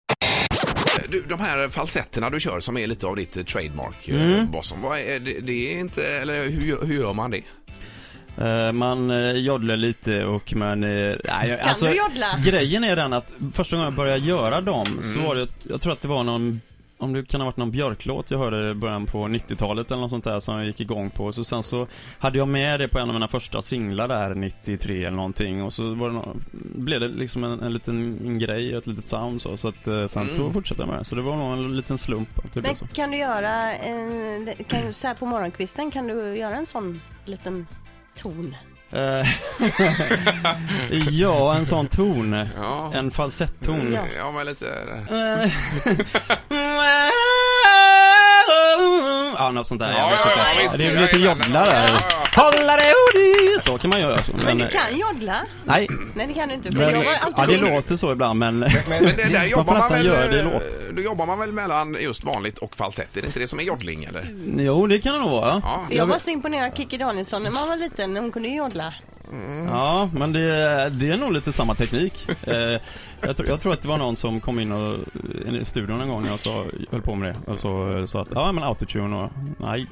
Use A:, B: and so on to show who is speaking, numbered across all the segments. A: Eh, Du, de här falsetterna du kör som är lite av ditt eh, trademark,
B: Mm.
A: eh, Bosson. Vad är det, det är inte, eller hur, gör- hur gör man det?
B: Eh, Man eh, joddlar lite och man... eh, nej,
C: Kan du joddla?
B: Grejen är den att första gången jag började göra dem så var det, jag tror att det var någon om det kan ha varit någon björklåt jag hörde i början på 90-talet eller något sånt där som jag gick igång på. Så sen så hade jag med det på en av mina första singlar där 93 eller någonting och så var det nå- blev det liksom en, en liten grej, ett litet sound så. Så att eh, sen så fortsatte jag med det. Så det var nog en liten slump att det blev
C: Men
B: så.
C: kan du göra, eh, kan du, så här på morgonkvisten, kan du göra en sån liten ton?
B: Eh, ja, en sån ton.
A: Ja,
B: En falsetton.
C: Ja.
A: ja men lite... eh,
B: Eh, Ja, något sånt där.
A: Ja,
B: jag vet
A: ja,
B: inte.
A: ja, visst.
B: det
A: Ja,
B: blir lite
A: ja,
B: joddlar
A: ja,
B: där.
A: ja,
B: Hålla dig och du. Så kan man göra. Så.
C: Men
B: Men,
C: du kan joddla?
B: Nej.
C: Nej det kan du inte för
B: Men,
C: jag var alltid
B: ja, det
C: så-
B: låter så ibland, men...
A: Men det, där
B: Man
A: jobbar
B: får
A: man
B: nästan
A: väl,
B: göra det i
A: eh, då jobbar man väl mellan just vanligt och falsett? Är det inte det som är joddling eller?
B: Jo, det kan det nog vara.
A: Ja.
C: Jag var så imponerad av Kikki Danielsson när man var liten, hon kunde ju joddla.
A: Mm.
B: Ja, men det, det är nog lite samma teknik. Eh, jag, tror, jag tror att det var någon som kom in och, i studion en gång och så höll på med det. Och så eh, sa att, ja men autotune och, nej.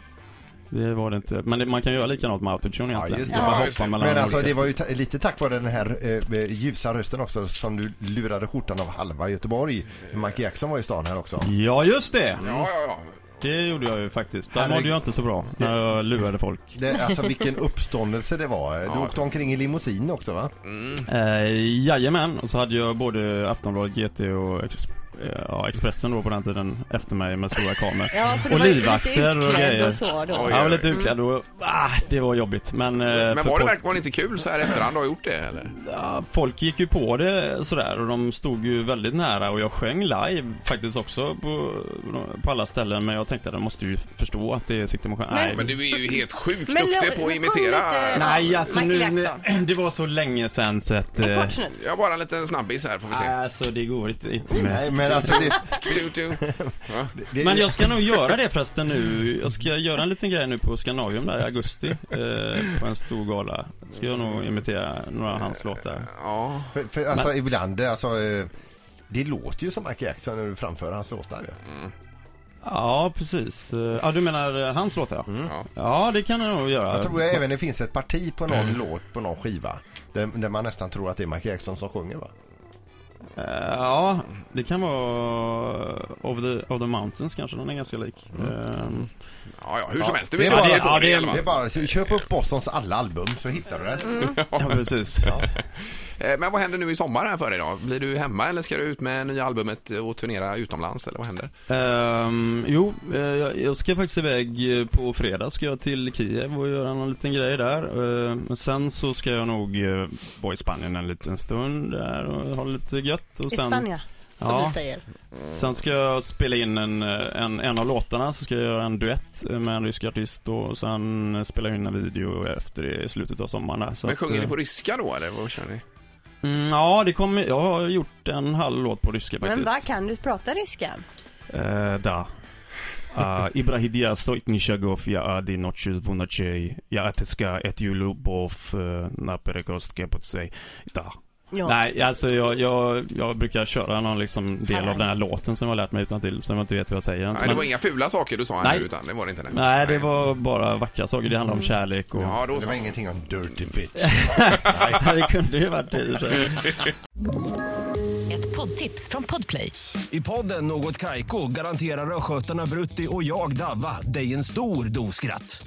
B: Det var det inte. Men det, man kan göra likadant med autotune
D: Ja,
B: egentligen.
D: just
C: det.
B: Bara
C: Ja,
B: hoppa
A: just det.
B: mellan
D: Men alltså
B: olika-
D: det var ju ta- lite tack vare den här eh, eh, ljusa rösten också som du lurade skjortan av halva Göteborg. Michael Jackson var ju i stan här också.
B: Ja, just det!
A: Ja, ja, ja.
B: Det gjorde jag ju faktiskt. Där
D: Herregud.
B: mådde jag inte så bra när jag lurade folk.
D: Det, alltså vilken uppståndelse det var. Du
A: Ja.
D: åkte omkring i limousin också va?
A: Mm.
B: Eh, jajamän, och så hade jag både Aftonbladet, GT och Ex- eh, ja, Expressen då på den tiden efter mig med stora kameror.
C: Ja för du
B: Och
C: var ju lite
B: livvakter och
C: utklädd
B: grejer.
C: och så då.
A: Oj,
B: Jag var lite utklädd och ah, det var jobbigt. Men, eh,
A: Men
B: för
A: var det
B: folk-
A: verkligen inte kul så här efterhand att ha gjort det eller?
B: Ja, folk gick ju på det sådär och de stod ju väldigt nära och jag sjöng live faktiskt också på, på alla ställen men jag tänkte att de måste ju förstå att det sitter mot
C: Men-
B: Nej,
A: Men du är ju helt sjukt
C: Men
A: duktig
C: lo-
A: på att
C: men
A: imitera.
C: sjung lite.
B: Nej alltså
C: Michael
B: nu,
C: Jackson.
B: det var så länge sen så att...
C: En
B: eh,
C: kort snutt.
A: Jag bara en liten snabbis här får vi se.
B: Alltså det går inte, inte med.
D: Nej men alltså det,
A: Tu, tu.
D: det,
B: Men jag ska nog göra det förresten nu. Jag ska göra en liten grej nu på Scandinavium där i augusti. Eh, på en stor gala. Ska jag nog imitera några av hans låtar.
A: Ja.
D: för, för, alltså ibland, alltså, eh, det låter ju som Michael Jackson när du framför hans låtar. ju.
B: Ja, precis. Eh, Ja, du menar eh, hans låtar ja.
A: Ja.
B: Ja, det kan jag nog göra.
D: Jag tror även det finns ett parti på någon låt på någon skiva där, där man nästan tror att det är Michael Jackson som sjunger va?
B: Eh, Ja, det kan vara Of the, of the Mountains kanske, den är ganska lik. Eh,
A: Ja, ja, hur som
D: Ja,
A: helst. Du
D: det
A: vet
D: är bara-
A: vad det
B: ja,
A: går
B: det är-
A: i alla
D: Det är
A: fall.
D: bara, så köp upp Bostons alla album så hittar du det.
B: Ja, precis.
A: Eh, Men vad händer nu i sommar här för dig då? Blir du hemma eller ska du ut med nya albumet och turnera utomlands eller vad händer?
B: Ehm, jo, eh, jag- jag ska faktiskt iväg eh, på fredag ska jag till Kiev och göra någon liten grej där. Eh, Men sen så ska jag nog eh, vara i Spanien en liten stund där och ha lite gött. Och
C: I
B: sen,
C: Spanien, som
B: Ja.
C: vi säger.
B: sen ska jag spela in en, eh, en, en av låtarna, så ska jag göra en duett eh, med en rysk artist och sen eh, spela in en video efter det i slutet av sommaren där. Så
A: Men
B: att,
A: sjunger
B: eh,
A: ni på ryska då eller vad kör ni?
B: Mm, ja, det kommer, jag har gjort en halv låt på ryska faktiskt.
C: Men vad kan du prata ryska?
B: Э, да. А, Ибрагидия стоит ни шагов, я ади ночью в ночей, я отыска эту любовь э, на перекрестке под sig. Да.
C: Ja.
B: Nej, alltså jag, jag, jag brukar köra någon liksom del av den här låten som jag har lärt mig utan till som jag inte vet hur jag säger.
A: Nej, det var inga fula saker du sa här
B: Nej.
A: nu utan det var det inte.
B: nej, det var bara vackra saker. Det handlar om kärlek och...
A: Mm. Ja, då
D: Det
A: så.
D: var ingenting om Dirty Bitch.
B: Nej, det kunde ju varit det i och för sig.
E: Ett poddtips från Podplay.
F: I podden Något Kaiko garanterar östgötarna Brutti och jag, Davva, dig en stor dos skratt.